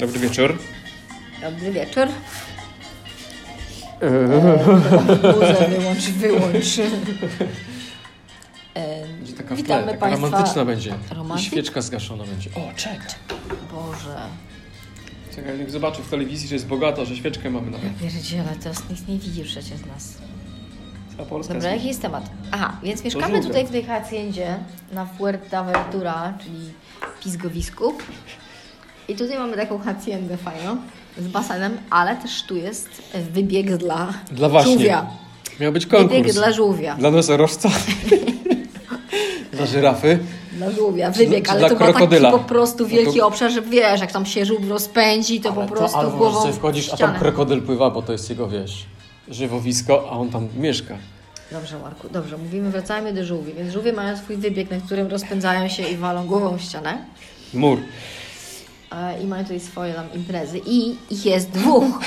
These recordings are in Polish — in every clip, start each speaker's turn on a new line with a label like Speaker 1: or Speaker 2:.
Speaker 1: Dobry wieczór.
Speaker 2: Dobry wieczór. Buzę wyłącz, wyłącz. E,
Speaker 1: Będzie taka
Speaker 2: Witamy
Speaker 1: w tle, taka
Speaker 2: Państwa.
Speaker 1: romantyczna będzie. I
Speaker 2: Romantyk?
Speaker 1: świeczka zgaszona będzie. O, czekaj.
Speaker 2: Boże,
Speaker 1: Czekaj, niech zobaczy w telewizji, że jest bogata, że świeczkę mamy nawet.
Speaker 2: pierdziele, teraz nikt nie widzi przecież nas.
Speaker 1: A Polska
Speaker 2: Dobra,
Speaker 1: jest...
Speaker 2: jaki jest temat? Aha, więc mieszkamy
Speaker 1: żółwia.
Speaker 2: tutaj w tej haciendzie na Fuerteventura, czyli pizgowisku. I tutaj mamy taką haciendę fajną z basenem, ale też tu jest wybieg dla,
Speaker 1: Dla właśnie.
Speaker 2: żółwia.
Speaker 1: Miał być
Speaker 2: Wybieg
Speaker 1: konkurs.
Speaker 2: dla żółwia.
Speaker 1: Dla nosorożca. dla żyrafy.
Speaker 2: Dla żółwia, No wybieg,
Speaker 1: Czy
Speaker 2: ale
Speaker 1: dla
Speaker 2: to ma taki
Speaker 1: krokodyla?
Speaker 2: po prostu
Speaker 1: No to-
Speaker 2: wielki obszar, że wiesz, jak tam się żółw rozpędzi, to po prostu
Speaker 1: albo
Speaker 2: głową
Speaker 1: sobie
Speaker 2: w
Speaker 1: wchodzisz, a tam
Speaker 2: ścianę.
Speaker 1: krokodyl pływa, bo to jest jego, wiesz, żywowisko, a on tam mieszka.
Speaker 2: Dobrze, Marku, dobrze, mówimy, wracajmy do żółwi. Więc żółwie mają swój wybieg, na którym rozpędzają się i walą głową w ścianę.
Speaker 1: Mur.
Speaker 2: E, I mają tutaj swoje tam imprezy. I ich jest dwóch.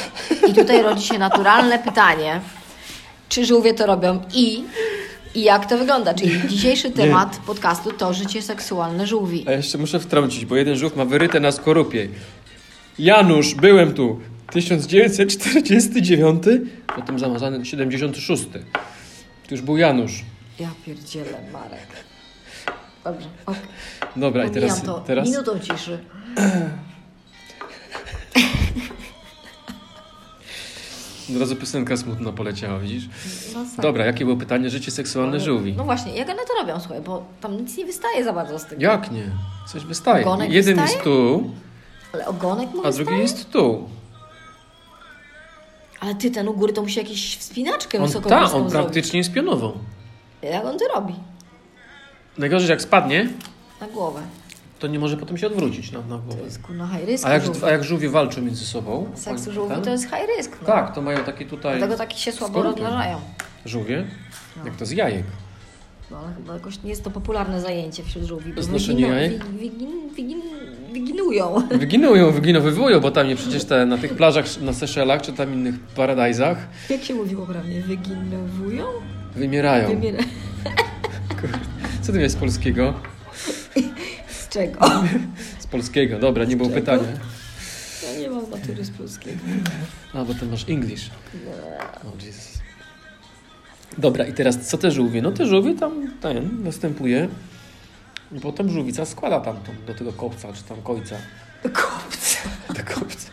Speaker 2: I tutaj rodzi się naturalne pytanie, czy żółwie to robią i, i jak to wygląda. Czyli dzisiejszy temat podcastu to życie seksualne żółwi.
Speaker 1: A jeszcze muszę wtrącić, bo jeden żółw ma wyryte na skorupie. Janusz, byłem tu. 1949, potem zamazany 76. To już był Janusz.
Speaker 2: Ja pierdzielę, Marek. Dobrze, okej.
Speaker 1: Dobra, i
Speaker 2: Pomijam
Speaker 1: teraz,
Speaker 2: to
Speaker 1: teraz
Speaker 2: minutą ciszy.
Speaker 1: od razu piosenka smutno poleciała, widzisz?
Speaker 2: No, sam.
Speaker 1: Dobra, jakie było pytanie? Życie seksualne żółwi.
Speaker 2: No właśnie, jak one to robią, słuchaj, bo tam nic nie wystaje za bardzo z tego.
Speaker 1: Jak nie? Coś wystaje.
Speaker 2: Ogonek
Speaker 1: Jeden
Speaker 2: wystaje?
Speaker 1: jest tu,
Speaker 2: Ale ogonek mu
Speaker 1: a
Speaker 2: wystaje?
Speaker 1: drugi jest tu.
Speaker 2: Ale ty, ten u góry to musi jakieś wspinaczkę
Speaker 1: On,
Speaker 2: wysoką
Speaker 1: ta,
Speaker 2: górską
Speaker 1: on
Speaker 2: zrobić.
Speaker 1: praktycznie jest pionową.
Speaker 2: Jak on to robi?
Speaker 1: Najgorzej, że jak spadnie,
Speaker 2: Na głowę.
Speaker 1: to nie może potem się odwrócić na, na głowę.
Speaker 2: To jest kurna high risk.
Speaker 1: A jak,
Speaker 2: żółw.
Speaker 1: a jak żółwie walczą między sobą?
Speaker 2: Seks
Speaker 1: pan-
Speaker 2: żółwi
Speaker 1: ten?
Speaker 2: to jest high risk. No.
Speaker 1: Tak, to mają takie tutaj
Speaker 2: Dlatego taki się słabo
Speaker 1: Skorupy.
Speaker 2: rozmnażają.
Speaker 1: żółwie,
Speaker 2: No.
Speaker 1: jak to z jajek.
Speaker 2: No, ale chyba jakoś nie jest to popularne zajęcie wśród żółwi. bo
Speaker 1: Znoszenie
Speaker 2: wyginą-
Speaker 1: jajek?
Speaker 2: wi- wygin- wygin- Wyginują.
Speaker 1: Wyginują, wyginowywują, bo tam nie przecież te, na tych plażach na Seszelach czy tam innych paradajzach
Speaker 2: Jak się mówi poprawnie? Wyginowują?
Speaker 1: wymierają.
Speaker 2: Wybiera...
Speaker 1: Co ty wiesz z polskiego?
Speaker 2: Z czego?
Speaker 1: Z polskiego, dobra, nie było
Speaker 2: czego?
Speaker 1: pytania.
Speaker 2: Ja nie mam matury z polskiego.
Speaker 1: A, bo ty masz English. Oh, Jesus. Dobra, i teraz co te żółwie? No te żółwie tam ten występuje. I potem żółwica składa tam tą, do tego kopca, czy tam kojca.
Speaker 2: Kupca.
Speaker 1: Do kopca.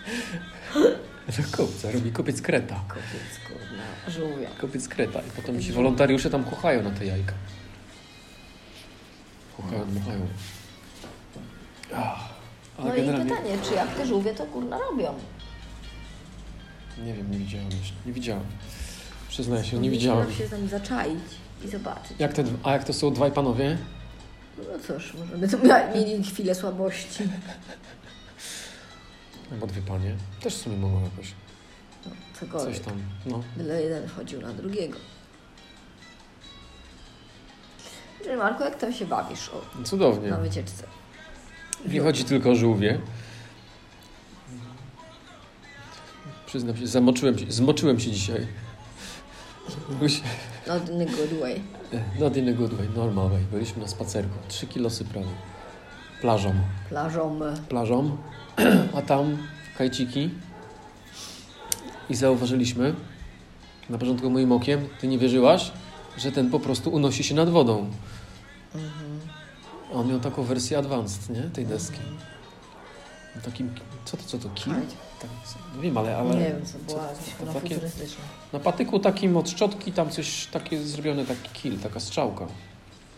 Speaker 1: Do kopca. Robi kopiec kreta.
Speaker 2: Kupiec, kurna, żółwia.
Speaker 1: Kopiec kreta. I potem ci wolontariusze tam kochają na te jajka. Kochają, kochają. Ah, Ale
Speaker 2: No i
Speaker 1: generalnie...
Speaker 2: pytanie, czy jak te żółwie to kurna robią?
Speaker 1: Nie wiem, nie widziałem jeszcze. Nie widziałem. Przyznaję się, No nie widziałem.
Speaker 2: Trzeba się z nami zaczaić i zobaczyć.
Speaker 1: Jak te, a jak to są dwaj panowie?
Speaker 2: No cóż, możemy tu mia- mieli chwilę słabości.
Speaker 1: Albo dwie panie. Też w sumie mogą jakoś.
Speaker 2: No,
Speaker 1: Coś
Speaker 2: cokolwiek.
Speaker 1: tam. No.
Speaker 2: Byle jeden chodził na drugiego. Czyli Marku, jak tam się bawisz o,
Speaker 1: Cudownie.
Speaker 2: na wycieczce?
Speaker 1: Nie
Speaker 2: no.
Speaker 1: chodzi tylko o żółwie. Przyznam się, zamoczyłem się, zmoczyłem się dzisiaj. Był się-
Speaker 2: Not in a good way.
Speaker 1: Not in a good way, normal way. Byliśmy na spacerku. Trzy kilosy prawie. Plażą.
Speaker 2: Plażą.
Speaker 1: Plażą. A tam kajciki. I zauważyliśmy, na początku moim okiem, ty nie wierzyłaś, że ten po prostu unosi się nad wodą.
Speaker 2: Mhm.
Speaker 1: On miał taką wersję advanced, nie? Tej deski. Takim, co to, co to, kim? Tak, nie wiem, ale, ale
Speaker 2: Nie wiem, co była jakaś
Speaker 1: to
Speaker 2: kurna
Speaker 1: takie-
Speaker 2: futurystyczna.
Speaker 1: na patyku takim od szczotki tam coś takie zrobione, taki kill, taka strzałka.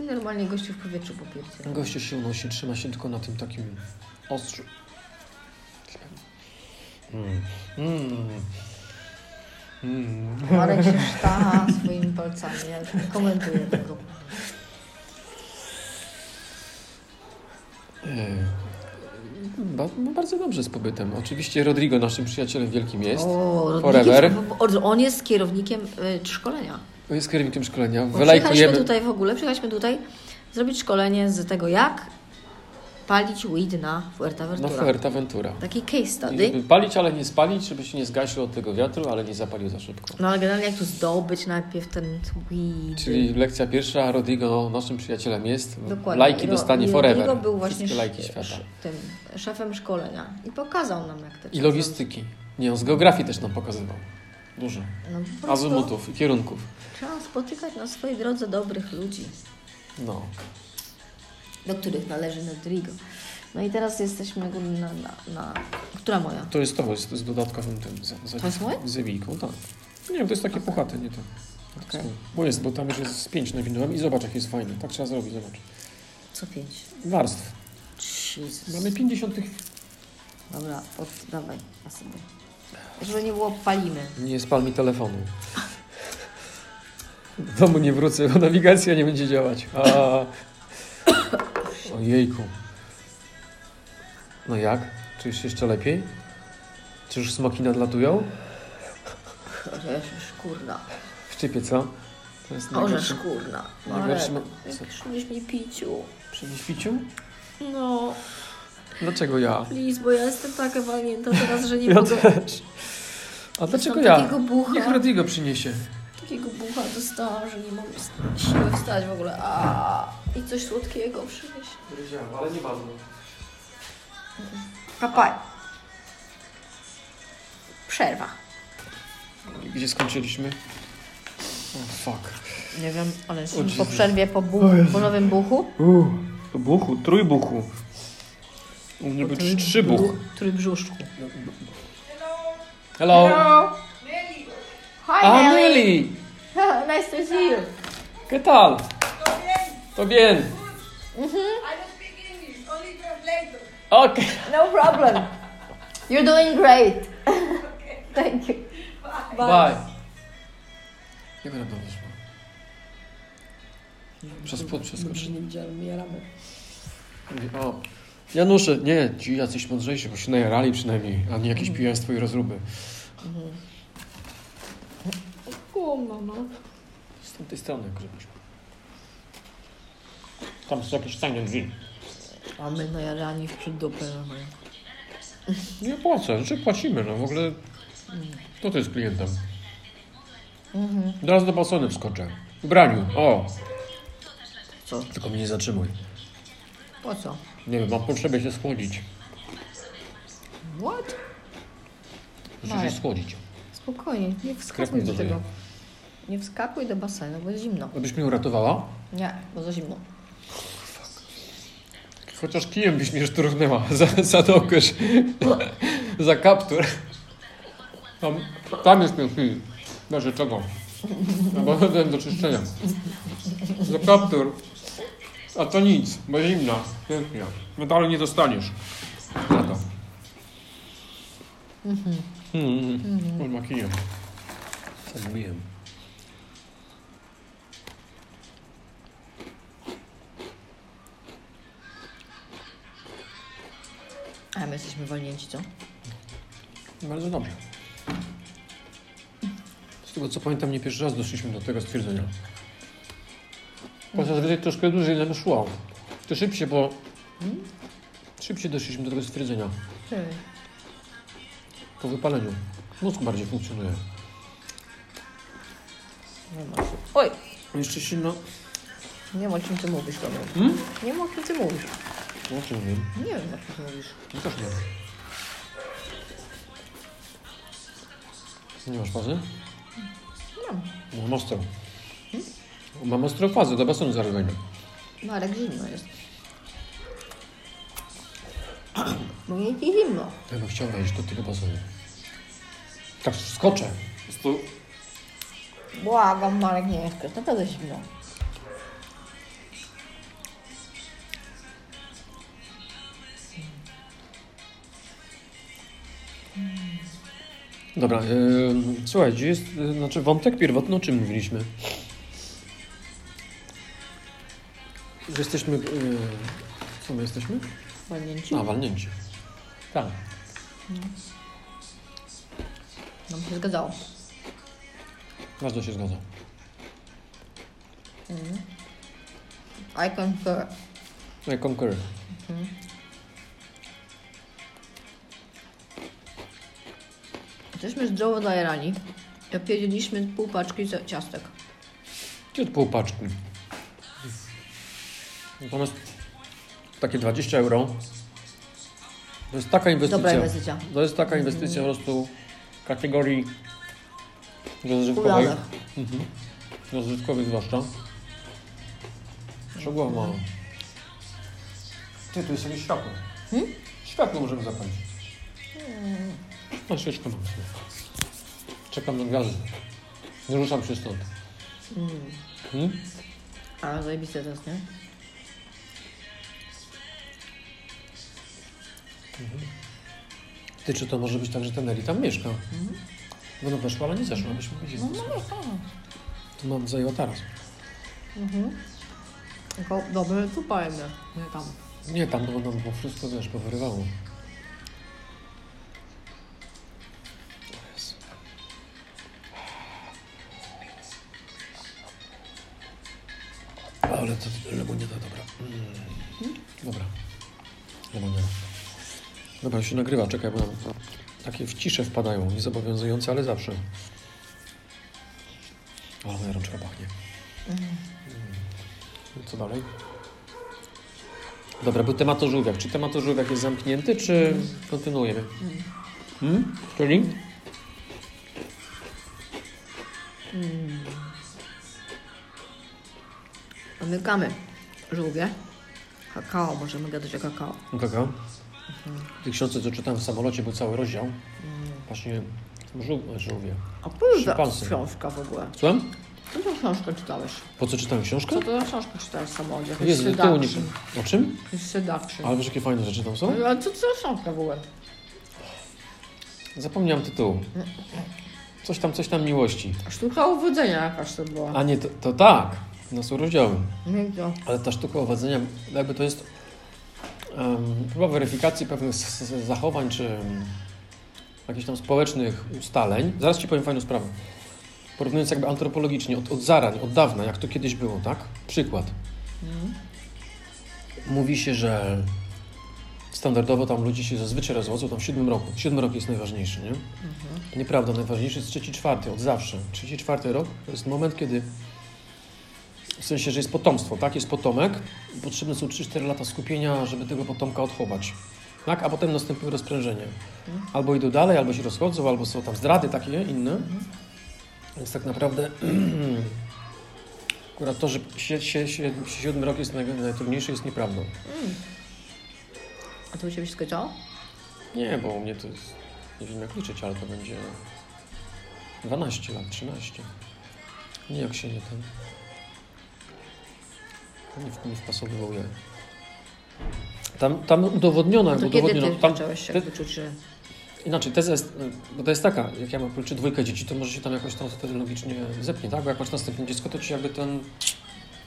Speaker 2: I normalnie gościu w powietrzu popierdzie.
Speaker 1: Goście się unosi, trzyma się tylko na tym takim ostrzu. Mm. Mm. Mm.
Speaker 2: Marek się sztacha swoimi palcami. Ja już nie komentuję tego.
Speaker 1: E, Ba no bardzo dobrze z pobytem. Oczywiście Rodrigo naszym przyjacielem wielkim jest.
Speaker 2: O,
Speaker 1: Forever.
Speaker 2: rodnikiem- bo- bo On jest kierownikiem y, szkolenia.
Speaker 1: On Jest kierownikiem szkolenia.
Speaker 2: Bo Przyjechaliśmy
Speaker 1: Wylajkujemy.
Speaker 2: tutaj w ogóle, przyjechaliśmy tutaj zrobić szkolenie z tego, jak palić weed na Fuerteventura.
Speaker 1: No Fuerteventura.
Speaker 2: Taki case
Speaker 1: I
Speaker 2: study.
Speaker 1: żeby palić, ale nie spalić, żeby się nie zgasił od tego wiatru, ale nie zapalił za szybko.
Speaker 2: No ale generalnie jak tu zdobyć najpierw ten weed.
Speaker 1: Czyli lekcja pierwsza, Rodrigo naszym przyjacielem jest.
Speaker 2: Dokładnie.
Speaker 1: Lajki
Speaker 2: I Ro-
Speaker 1: dostanie
Speaker 2: i
Speaker 1: forever.
Speaker 2: Rodrigo był właśnie
Speaker 1: Wszystkie lajki
Speaker 2: sz-
Speaker 1: świata.
Speaker 2: sz- tym szefem szkolenia i pokazał nam jak to
Speaker 1: I logistyki. Nie, on z geografii też nam pokazywał. Dużo.
Speaker 2: No, po prostu
Speaker 1: Azymutów i kierunków.
Speaker 2: Trzeba spotykać na swojej drodze dobrych ludzi,
Speaker 1: No.
Speaker 2: do których należy Rodrigo. No i teraz jesteśmy na, na, na... Która moja?
Speaker 1: To jest to, jest, to jest dodatkowym tym za, za,
Speaker 2: To jest moje?
Speaker 1: zawijką, tak. Nie wiem, to jest takie puchate, nie to.
Speaker 2: Okej.
Speaker 1: Bo jest, bo tam już jest z pięć nawinąłem i zobacz, jak jest fajny. Tak trzeba zrobić, zobacz.
Speaker 2: Co pięć?
Speaker 1: Warstw.
Speaker 2: Jezus.
Speaker 1: Mamy 50 tych...
Speaker 2: Dobra, od, dawaj na sobie. Żeby nie było palimy.
Speaker 1: Nie spal mi telefonu. Do domu nie wrócę, bo nawigacja nie będzie działać. A... Ojejku. No jak? Czy już jeszcze lepiej? Czy już smoki nadlatują?
Speaker 2: Orzesz, kurna.
Speaker 1: W czypie, co? To jest
Speaker 2: Orzesz,
Speaker 1: najgorszy.
Speaker 2: kurna. No ale
Speaker 1: Najgorszy... Co?
Speaker 2: przynieś mi piciu.
Speaker 1: Przy świciu?
Speaker 2: No,
Speaker 1: Dlaczego ja?
Speaker 2: please, bo ja jestem taka walnięta teraz, że nie
Speaker 1: Ja
Speaker 2: mogę...
Speaker 1: też. A dlaczego ja?
Speaker 2: Takiego bucha,
Speaker 1: Niech Rodrigo przyniesie.
Speaker 2: takiego bucha dostałam, że nie mam s- siły wstać w ogóle. A, I coś słodkiego przynieś.
Speaker 1: Wiedziałem, ale nie bardzo.
Speaker 2: Papaj. Przerwa.
Speaker 1: Gdzie skończyliśmy? O, fuck.
Speaker 2: Nie wiem, ale
Speaker 1: O
Speaker 2: jesteśmy po
Speaker 1: Jezus.
Speaker 2: przerwie, po, bu- po nowym buchu.
Speaker 1: Uuu, buchu, trójbuchu. U mnie był trzy, trzybuch.
Speaker 2: Trójbrzuszku.
Speaker 1: Hello.
Speaker 2: Hi,
Speaker 1: A,
Speaker 2: Nelly.
Speaker 1: Nelly.
Speaker 2: nice to see you.
Speaker 1: ¿Qué tal? To bien.
Speaker 3: I don't speak English, only translator.
Speaker 1: Ok.
Speaker 2: No problem. You're doing great. Thank you.
Speaker 1: Bye. Nie będę dobrze szła. Przez płot przeskoczy.
Speaker 2: nie widziałem, jaramy.
Speaker 1: Mówi, O, Janusze, nie, ci jacyś mądrzejsi, bo się najarali przynajmniej, a nie jakieś pijaństwo i rozruby.
Speaker 2: Kurno, no.
Speaker 1: Z tamtej strony, jak żebyś. Tam są jakieś tanie drzwi.
Speaker 2: A my no jarani w przydupę. no.
Speaker 1: Nie płacę, znaczy płacimy, no w ogóle. Kto to jest klientem? Teraz do basony wskoczę. W braniu, o!
Speaker 2: Co?
Speaker 1: Tylko mnie nie zatrzymuj.
Speaker 2: Po co?
Speaker 1: Nie wiem, mam potrzebę się schłodzić.
Speaker 2: What?
Speaker 1: Muszę
Speaker 2: Dawaj.
Speaker 1: się schłodzić.
Speaker 2: Spokojnie, nie
Speaker 1: mi
Speaker 2: wskakuj do
Speaker 1: dożyje.
Speaker 2: tego. Nie wskakuj do basenu, bo jest zimno.
Speaker 1: Abyś mnie uratowała?
Speaker 2: Nie, bo za zimno.
Speaker 1: Chociaż kijem byś mnie szturchnęła za, za nogosz. za kaptur. Tam, tam jest ten film. Znaczy czego? No bo dodałem do czyszczenia. Za kaptur. A to nic, bo zimna. Pięknie. Medalu nie dostaniesz. Za to. Mhm. Mhm. Ma kijem. Zabiłem.
Speaker 2: A my jesteśmy wolnięci, co?
Speaker 1: Bardzo dobrze. Z tego co pamiętam, nie pierwszy raz doszliśmy do tego stwierdzenia. Poza zazwyczaj troszkę dłużej nam szło. To szybciej, bo Hmm? szybciej doszliśmy do tego stwierdzenia.
Speaker 2: Hmm.
Speaker 1: Po wypaleniu. Mózg bardziej funkcjonuje.
Speaker 2: Nie ma się. Oj!
Speaker 1: Jeszcze silno...
Speaker 2: Nie wiem o czym ty mówisz, Tomek.
Speaker 1: Hmm?
Speaker 2: Nie wiem o czym ty mówisz.
Speaker 1: No czym wiem.
Speaker 2: Nie wiem o czym ty mówisz.
Speaker 1: No też nie. Nie masz fazy?
Speaker 2: Mam.
Speaker 1: Mam ostrą. Mam ostrą fazę, do basenu zaraz wejdę.
Speaker 2: Marek zimno jest. Mówię ci No zimno.
Speaker 1: Ja bym chciał wejść do tego basenu. Tak skoczę. Stu.
Speaker 2: Błagam, Marek nie jest. Naprawdę zimno.
Speaker 1: Dobra, ym, słuchaj, gdzie jest, y, znaczy wątek pierwotny, o czym mówiliśmy? Że jesteśmy, yy, co my jesteśmy?
Speaker 2: Wolnięci.
Speaker 1: A, walnięci. Tak.
Speaker 2: Nam się zgadzało.
Speaker 1: Bardzo się zgadza.
Speaker 2: I confer.
Speaker 1: I concur.
Speaker 2: Żeśmy z Joe zajerali. Ja Pierdzieliśmy pół paczki za- ciastek.
Speaker 1: Gdzie od półpaczki? Natomiast takie 20 euro to jest taka inwestycja.
Speaker 2: Dobra inwestycja.
Speaker 1: To jest taka inwestycja po prostu kategorii rozrywkowej.
Speaker 2: Ujadę.
Speaker 1: Rozrywkowej zwłaszcza. Szogła ma. Ty, tu jest jakieś światło.
Speaker 2: Hmm?
Speaker 1: Światło możemy zapalić. No, świeczkę mam sobie. Czekam na gaz. Nie ruszam się stąd. Hmm?
Speaker 2: A, zajebiste to jest, nie?
Speaker 1: Ty, czy to może być tak, że ten Eli tam mieszka? Bo no weszła, ale nie zeszła, byśmy wiedzieli. No,
Speaker 2: tak.
Speaker 1: To mam zajęła teraz.
Speaker 2: Tylko dobry tupa jednak, nie tam.
Speaker 1: Nie, tam było, tam było wszystko, wiesz, powyrywało. Jezu. Ale to lemoniada, dobra. Mm. Dobra. Lemoniada. Dobra, się nagrywa, czekaj, bo takie w ciszę wpadają, niezobowiązujące, ale zawsze. O, moja rączka pachnie. Mm. Co dalej? Dobra, był temat o żółwiach. Czy temat o żółwiach jest zamknięty, czy kontynuujemy? Hmm? Czyli?
Speaker 2: Zamykamy żółwie. Kakao, możemy gadać o kakao.
Speaker 1: Kaka. W tej książce, co czytałem w samolocie, był cały rozdział. Właśnie żół, żółwie.
Speaker 2: A po
Speaker 1: Szczypansy.
Speaker 2: to książka w ogóle?
Speaker 1: Słucham?
Speaker 2: Co to książkę czytałeś?
Speaker 1: Po co czytałem książkę?
Speaker 2: Co to za książkę czytałeś w samochodzie? Jakiś
Speaker 1: Tak. Jezu, do tyłu nie...
Speaker 2: sedakrzy.
Speaker 1: O czym?
Speaker 2: Jakiś sedakrzy.
Speaker 1: Ale wiesz, jakie fajne rzeczy tam są?
Speaker 2: Ale co to za książka w ogóle?
Speaker 1: Zapomniałem tytułu. Coś tam, coś tam miłości.
Speaker 2: Sztuka uwodzenia jakaś to była.
Speaker 1: A nie, to, to tak. No są rozdziały.
Speaker 2: Nie to.
Speaker 1: Ale ta sztuka uwadzenia, jakby to jest um, próba weryfikacji pewnych s- s- zachowań czy mm, jakichś tam społecznych ustaleń. Zaraz Ci powiem fajną sprawę. Porównując jakby antropologicznie, od, od zarań, od dawna, jak to kiedyś było, tak? Przykład. Mówi się, że standardowo tam ludzie się zazwyczaj rozwodzą tam w siódmym roku. Siódmy rok jest najważniejszy, nie? Nieprawda, najważniejszy jest trzeci, czwarty, od zawsze. Trzeci, czwarty rok to jest moment, kiedy w sensie, że jest potomstwo, tak? Jest potomek. Potrzebne są 3-4 lata skupienia, żeby tego potomka odchować. Tak? A potem następuje rozprężenie. Albo idą dalej, albo się rozchodzą, albo są tam zdrady takie inne. Więc tak naprawdę akurat to, że sie- sie- sie- siódmy rok jest naj- najtrudniejszy, jest nieprawdą.
Speaker 2: A to u Ciebie się skończyło?
Speaker 1: Tak, Nie, bo u mnie to jest, nie wiem jak liczyć, ale to będzie 12 lat, 13. Nie, jak się nie ten. Nie, w- nie wpasowywał je. Tam, tam udowodniono,
Speaker 2: No
Speaker 1: jakby
Speaker 2: to kiedy
Speaker 1: udowodniono.
Speaker 2: Ty
Speaker 1: tam,
Speaker 2: zacząłeś się
Speaker 1: te-
Speaker 2: wyczuć, że...
Speaker 1: Inaczej, teza jest, no, bo to jest taka, jak ja mam czy dwójkę dzieci, to może się tam jakoś tam wtedy logicznie zepnie, tak? Bo jak masz następne dziecko, to ci jakby ten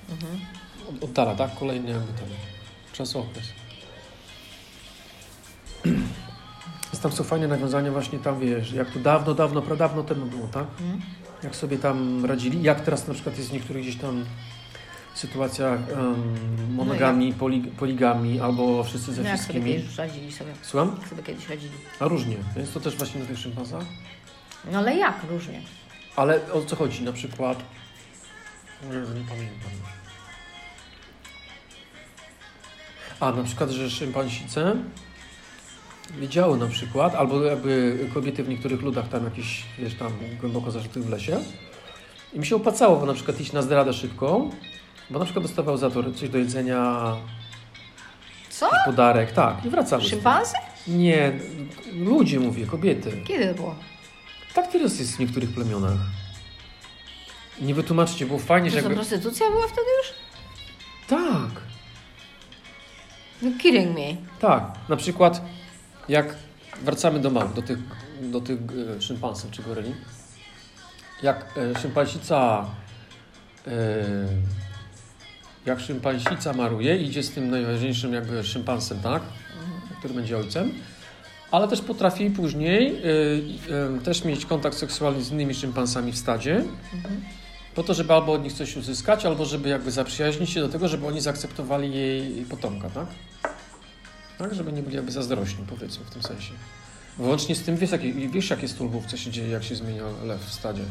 Speaker 2: Mhm.
Speaker 1: od- oddala, tak? Kolejny jakby ten przez okres. Jest tam są fajne nawiązania właśnie tam, wiesz, jak to dawno, dawno, pradawno temu było, tak?
Speaker 2: Mhm.
Speaker 1: Jak sobie tam radzili, jak teraz na przykład jest w niektórych gdzieś tam sytuacjach
Speaker 2: No
Speaker 1: um, monogami, poli, poligami, albo wszyscy ze
Speaker 2: No jak sobie
Speaker 1: wszystkimi.
Speaker 2: kiedyś radzili sobie.
Speaker 1: Słucham?
Speaker 2: Jak sobie kiedyś radzili.
Speaker 1: A różnie, więc to też właśnie na tych szympansach.
Speaker 2: No ale jak różnie?
Speaker 1: Ale o co chodzi? Na przykład. Jezu, Nie pamiętam. już. A na przykład, że szympansice wiedziały na przykład, albo jakby kobiety w niektórych ludach tam jakieś, wiesz, tam głęboko zaszczytych w lesie. Im się opłacało na przykład iść na zdradę szybką, bo na przykład dostawał za to coś do jedzenia,
Speaker 2: Co?
Speaker 1: podarek, tak, i wracały.
Speaker 2: Szympansy?
Speaker 1: Nie, ludzie mówię, kobiety.
Speaker 2: Kiedy to było?
Speaker 1: Tak teraz jest w niektórych plemionach. Nie wytłumaczcie, było fajnie,
Speaker 2: To
Speaker 1: że
Speaker 2: co,
Speaker 1: jakby...
Speaker 2: prostytucja była wtedy już?
Speaker 1: Tak,
Speaker 2: You're kidding me.
Speaker 1: tak. Na przykład jak wracamy do małp, do tych, do tych e, szympansów czy goryli, jak e, szympansica e, jak szympansica maruje, idzie z tym najważniejszym jakby szympansem, tak? Który będzie ojcem. Ale też potrafi później e, e, też mieć kontakt seksualny z innymi szympansami w stadzie. Po to, żeby albo od nich coś uzyskać, albo żeby jakby zaprzyjaźnić się do tego, żeby oni zaakceptowali jej potomka, tak? Tak, żeby nie byli jakby zazdrośni, powiedzmy, w tym sensie. Wyłącznie z tym wiesz, jakie, wiesz, jakie stulbów, co się dzieje, jak się zmienia lew w stadzie.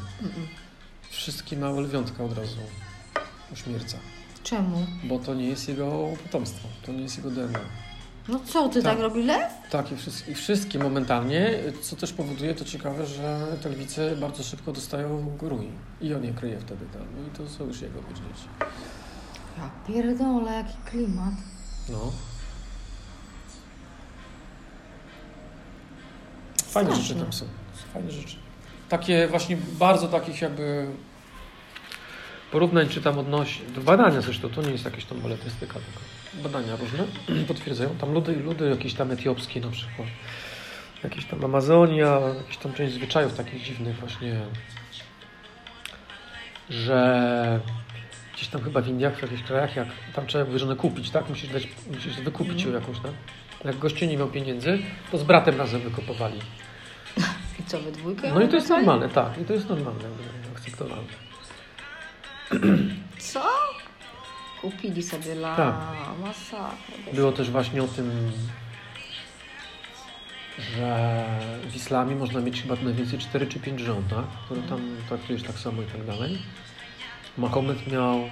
Speaker 1: Wszystkie małe lwiątka od razu uśmierca.
Speaker 2: Czemu?
Speaker 1: Bo to nie jest jego potomstwo, to nie jest jego DNA.
Speaker 2: No co, ty
Speaker 1: Tak.
Speaker 2: tak, robisz lew?
Speaker 1: Tak, i wszystkie, i wszystkie momentalnie, co też powoduje, to ciekawe, że te lwice bardzo szybko dostają rui. I on je kryje wtedy tam. No I to są już jego być dzieci.
Speaker 2: Ja pierdolę, jaki klimat.
Speaker 1: No. Fajne
Speaker 2: Straszne.
Speaker 1: rzeczy tam są. Fajne rzeczy. Takie właśnie bardzo takich jakby porównań czy tam odnosi. do Badania zresztą, to nie jest jakaś tam beletystyka, tylko badania różne potwierdzają. Tam ludy, ludy jakieś tam etiopskie na przykład. Jakieś tam Amazonia, jakieś tam część zwyczajów takich dziwnych właśnie, że gdzieś tam chyba w Indiach, w jakichś krajach, jak tam trzeba wyżone kupić, tak? Musisz dać, musisz wykupić ją jakąś, tak? Jak gościu nie miał pieniędzy, to z bratem razem wykopowali.
Speaker 2: I co, we dwójkę?
Speaker 1: No i to jest normalne, tak. I to jest normalne, jakby akceptowalne.
Speaker 2: Co? Kupili sobie la...
Speaker 1: Tak.
Speaker 2: Masakra.
Speaker 1: Było też właśnie o tym, że w islamie można mieć chyba najwięcej 4 czy 5 żon, tak? Które tam traktujesz tak samo i tak dalej. Mahomet miał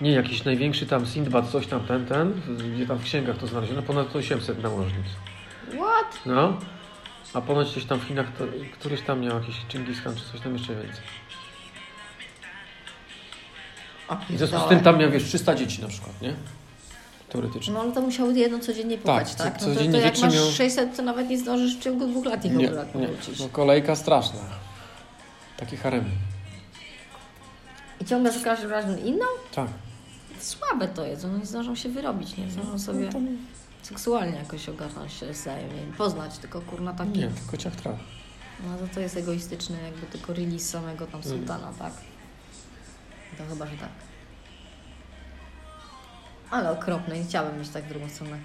Speaker 1: nie jakiś największy tam Sindbad, coś tam, ten, ten, gdzie tam w księgach to znaleziono, ponad 800 nałożnic.
Speaker 2: What?
Speaker 1: No, a ponoć gdzieś tam w Chinach, to, któryś tam miał jakiś Chingis Khan czy coś tam jeszcze więcej.
Speaker 2: A
Speaker 1: I w związku z
Speaker 2: pierdolę.
Speaker 1: tym tam miał, wiesz, 300 dzieci na przykład, nie? Teoretycznie.
Speaker 2: No ale to musiało jedno codziennie pukać,
Speaker 1: co-
Speaker 2: tak? No to, to
Speaker 1: codziennie
Speaker 2: jak
Speaker 1: dzieci
Speaker 2: masz
Speaker 1: miał-
Speaker 2: 600, to nawet nie zdążysz w ciągu dwóch lat nikogo lat wrócić.
Speaker 1: No, kolejka straszna. Takie haremy.
Speaker 2: I ciągle za każdym razem inną?
Speaker 1: Tak.
Speaker 2: Słabe to jest, one nie zdążą się wyrobić, nie
Speaker 1: No,
Speaker 2: zdążą sobie seksualnie jakoś ogarnąć się wzajemnie, poznać, tylko kurna taki.
Speaker 1: Nie, tylko ciach traf.
Speaker 2: No to to jest egoistyczny jakby tylko release samego tam
Speaker 1: Mm.
Speaker 2: sułtana, tak? To chyba, że tak. Ale okropne, nie chciałabym mieć tak w drugą stronę.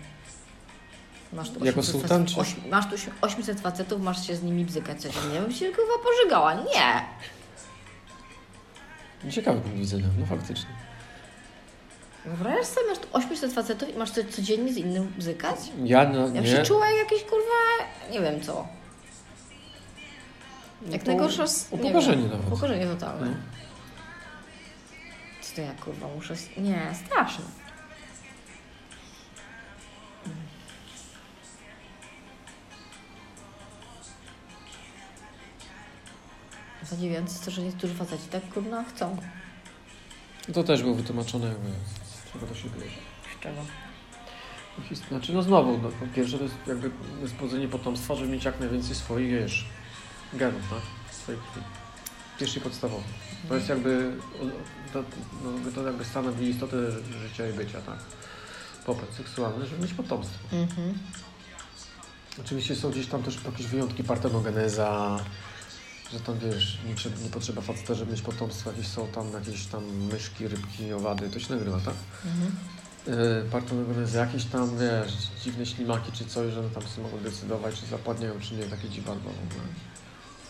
Speaker 2: Masz tu
Speaker 1: Jako
Speaker 2: 800
Speaker 1: sułtan,
Speaker 2: facet-
Speaker 1: czy-
Speaker 2: ośm- masz tu si- 800 facetów, masz się z nimi bzykać codziennie, bym się chyba pożygała. Nie!
Speaker 1: Ciekawy punkt widzenia, no faktycznie.
Speaker 2: No Wyobrażasz sobie, masz tu 800 facetów i masz co- codziennie z innym bzykać?
Speaker 1: Ja no,
Speaker 2: Ja
Speaker 1: nie.
Speaker 2: bym się czuła jak jakieś kurwa, nie wiem co. Jak
Speaker 1: Upo-
Speaker 2: najgorsza... s- nie
Speaker 1: upokorzenie
Speaker 2: wiem,
Speaker 1: nawet.
Speaker 2: Upokorzenie totalne.
Speaker 1: No.
Speaker 2: Co to ja kurwa muszę... s- Nie, straszne. Zadziwiające jest to, że niektórzy faceci tak kurwa chcą.
Speaker 1: To też było wytłumaczone, jakby, z czego to się bierze.
Speaker 2: Z czego?
Speaker 1: Hist- Znaczy, no znowu, no, po pierwsze to jest jakby zbudzenie potomstwa, żeby mieć jak najwięcej swoich, wiesz, genów, tak? Swoich krwi. Pierwszy podstawowy. To jest jakby, o- to, no, to jakby stanowi istotę życia i bycia, tak? Popyt seksualny, żeby mieć potomstwo.
Speaker 2: Mhm.
Speaker 1: Oczywiście są gdzieś tam też jakieś wyjątki, partenogeneza, że tam wiesz, nie, trze- nie potrzeba faceta, żeby mieć potomstwo, jakieś są tam jakieś tam myszki, rybki, owady, to się nagrywa, tak?
Speaker 2: Mhm.
Speaker 1: Yy, partenogeneza, jakieś tam wiesz, dziwne ślimaki czy coś, że one tam sobie mogą decydować, czy zapładniają, czy nie, takie dziwadło w ogóle.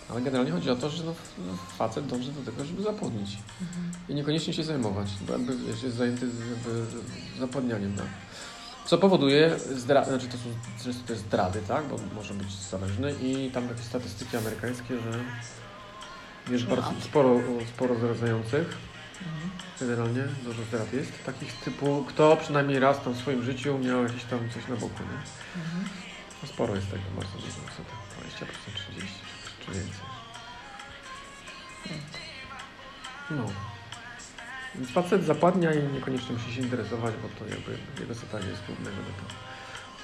Speaker 1: Ale generalnie chodzi o to, że no, no, facet dąży do tego, żeby zapłodnić
Speaker 2: mhm,
Speaker 1: i niekoniecznie się zajmować, bo jakby wiesz, jest zajęty z- jakby zapłodnianiem, tak? Co powoduje zdrady, znaczy to są często to jest zdrady, tak? Bo może być zależny i tam jakieś statystyki amerykańskie, że wiesz,
Speaker 2: No.
Speaker 1: bardzo sporo, sporo zdradzających. Generalnie dużo zdrad jest. Takich typu, kto przynajmniej raz tam w swoim życiu miał jakieś tam coś na boku, nie?
Speaker 2: mhm.
Speaker 1: No Sporo jest tego, bardzo dużo, co tak 20%, 30% czy więcej. No. Więc facet zapadnia i niekoniecznie musi się interesować, bo to jakby jego zadanie jest główne, żeby to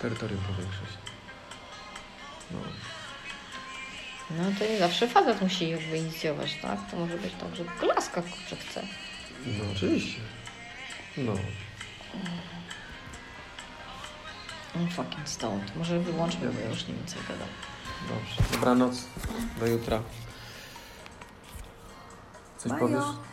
Speaker 1: terytorium powiększyć. No.
Speaker 2: No to nie zawsze facet musi jakby inicjować, tak? To może być tak, że laska kurczę chce.
Speaker 1: No oczywiście. No.
Speaker 2: I'm No, fucking stoned. Może wyłączmy, bo ja już nie wiem co ja gadam.
Speaker 1: Dobrze. Dobranoc. Do jutra. Coś
Speaker 2: Majo.
Speaker 1: powiesz?